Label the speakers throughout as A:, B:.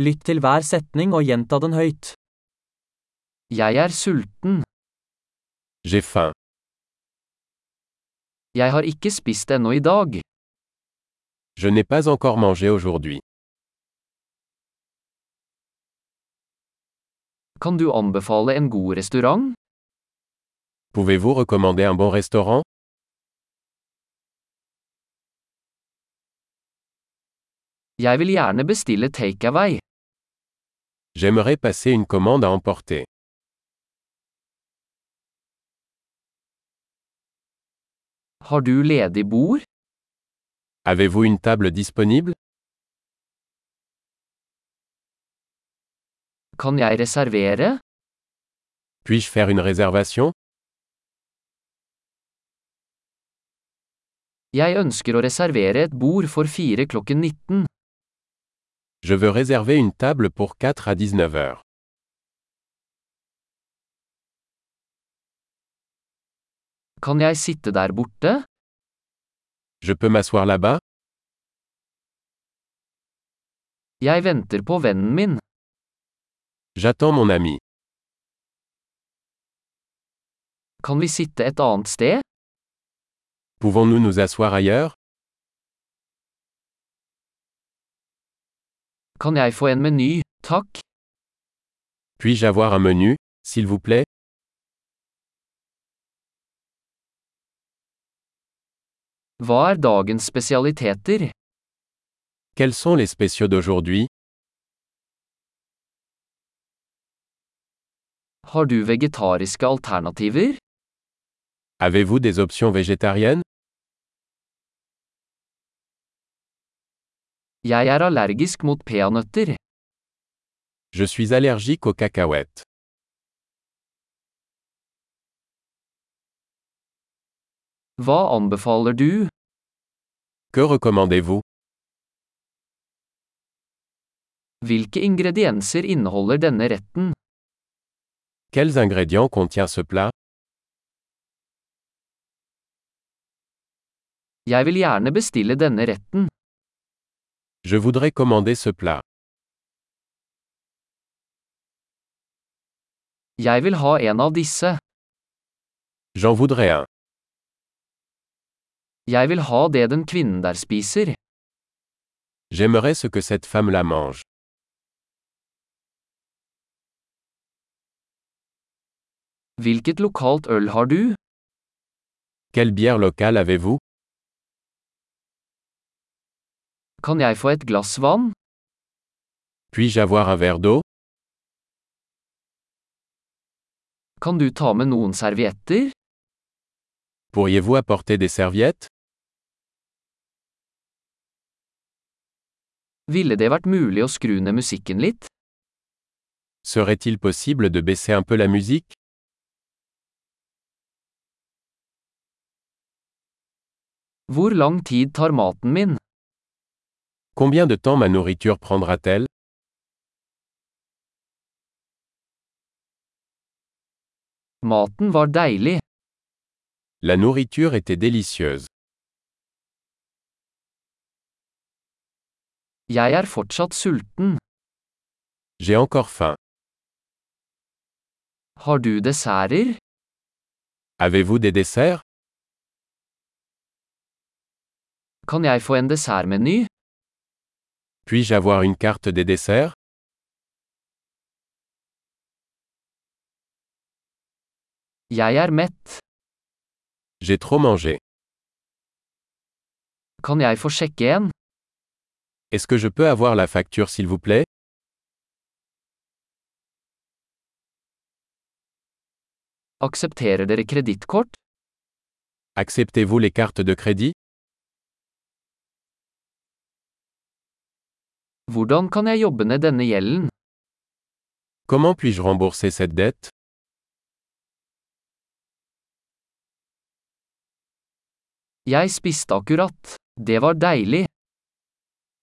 A: Lytt til hver setning og gjenta den høyt. Jeg er sulten.
B: J'ai faim.
A: Jeg har ikke spist ennå i dag.
B: Je n'ai pas encore mangé aujourd'hui.
A: Kan du anbefale en god restaurant?
B: Pouvez-vous recommander un bon restaurant
A: Jeg vil gjerne bestille takeaway.
B: J'aimerais passer une commande à emporter.
A: Har du ledig bord?
B: Avez-vous une table disponible
A: Kan jeg reservere?
B: Puis-je faire une réservation
A: Jeg ønsker å reservere et bord for 4 klokken 19.
B: Je veux réserver une table pour 4 à 19 heures.
A: Kan jeg sitte der borte?
B: Je peux m'asseoir là-bas
A: Jeg venter på vennen min.
B: J'attends mon ami.
A: Kan vi sitte et annet sted?
B: Pouvons-nous nous asseoir ailleurs
A: Kan jeg få en meny? Takk.
B: Puis-je avoir un menu, s'il vous plaît
A: Hva er dagens spesialiteter?
B: Quels sont les spéciaux d'aujourd'hui
A: Har du vegetariske alternativer?
B: Avez-vous des options végétariennes
A: Jeg er allergisk mot peanøtter.
B: Je suis allergique aux cacahuètes.
A: Hva anbefaler du?
B: Que recommandez-vous
A: Hvilke ingredienser inneholder denne retten?
B: Quels ingrédients contient ce plat
A: Jeg vil gjerne bestille denne retten.
B: Je voudrais commander ce plat.
A: Jeg vil ha en av disse.
B: J'en voudrais un.
A: Jeg vil ha det den kvinnen der spiser.
B: J'aimerais ce que cette femme la mange.
A: Hvilket lokalt øl har du?
B: Quelle bière locale avez-vous
A: Kan jeg få et glass vann?
B: Puis-je avoir un verre d'eau
A: Kan du ta med noen servietter?
B: Pourriez-vous apporter des serviettes
A: Ville det vært mulig å skru ned musikken litt?
B: Serait-il possible de baisser un peu la musique
A: Hvor lang tid tar maten min?
B: Combien de temps ma nourriture prendra-t-elle
A: Maten var deilig.
B: La nourriture était délicieuse.
A: Jeg er fortsatt sulten.
B: J'ai encore faim.
A: Har du desserter?
B: Avez-vous des desserts
A: Kan jeg få en dessertmeny?
B: Puis-je avoir une carte des desserts
A: Jeg er mett.
B: J'ai trop mangé.
A: Kan jeg få sjekke en?
B: Est-ce que je peux avoir la facture s'il vous plaît
A: Aksepterer dere kredittkort?
B: Acceptez-vous les cartes de crédit
A: Hvordan kan jeg jobbe ned denne gjelden?
B: Comment puis-je rembourser cette dette
A: Jeg spiste akkurat. Det var deilig.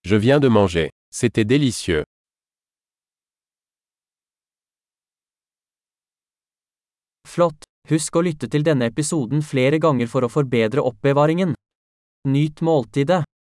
B: Je viens de manger. C'était délicieux.
A: Flott! Husk å lytte til denne episoden flere ganger for å forbedre oppbevaringen. Nyt måltidet.